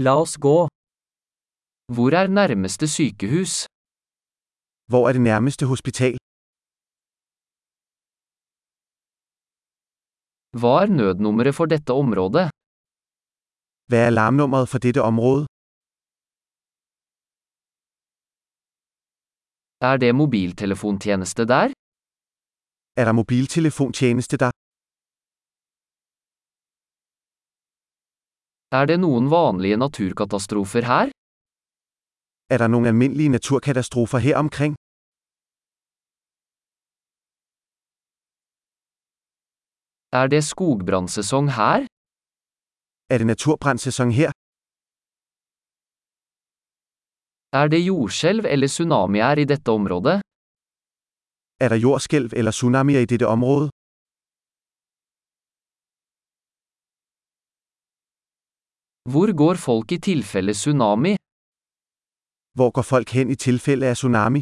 La oss gå. Hvor er nærmeste sykehus? Hvor er det nærmeste hospital? Hva er nødnummeret for dette området? Hvad er alarmnummeret for dette område? Er det mobiltelefontjeneste der? Er der mobiltelefontjeneste der? Er det noen vanlige naturkatastrofer her? Er der nogle almindelige naturkatastrofer her omkring? Er det skogbrannsesong her? Er det naturbrandsæson her? Er det jordskjelv eller tsunami her i dette området? Er der jordskælv eller tsunamier i dette område? Hvor går folk i tilfelle tsunami? Hvor går folk hen i tilfælde af tsunami?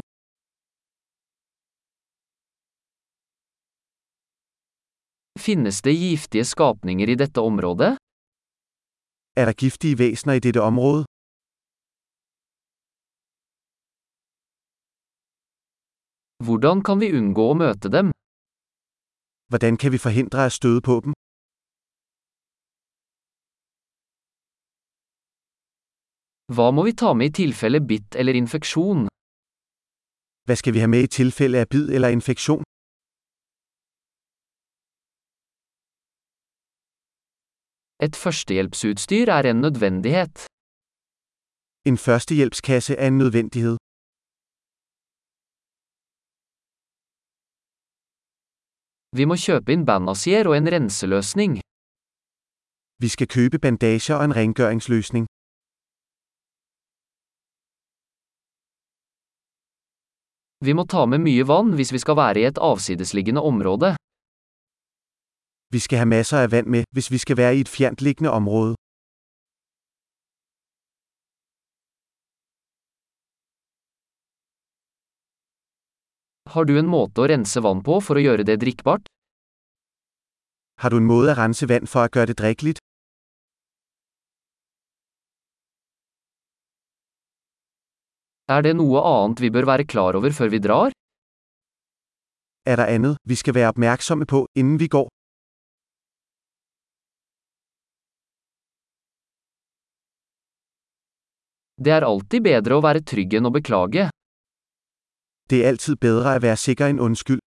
Finnes det giftige skapninger i dette området? Er der giftige væsener i dette område? Hvordan kan vi unngå å møte dem? Hvordan kan vi forhindre at støde på dem? Hva må vi ta med i tilfelle bitt eller infeksjon? Hvad skal vi have med i tilfælde af bid eller infektion? Et førstehjelpsutstyr er en nødvendighet. En førstehjælpskasse er en nødvendighed. Vi må kjøpe inn bandasier og en renseløsning. Vi skal købe bandager og en rengøringsløsning. Vi må ta med mye vann hvis vi skal være i et avsidesliggende område. Vi skal have masser af vand med, hvis vi skal være i et fjerntliggende område. Har du en måte å rense vann på for å gjøre det drikkbart? Har du en måde at rense vand for at gøre det drikkeligt? Er det noe annet vi bør være klar over før vi drar? Er der andet, vi skal være opmærksomme på, inden vi går? Det er alltid bedre å være trygg enn å beklage. Det er altid bedre at være sikker end undskyld.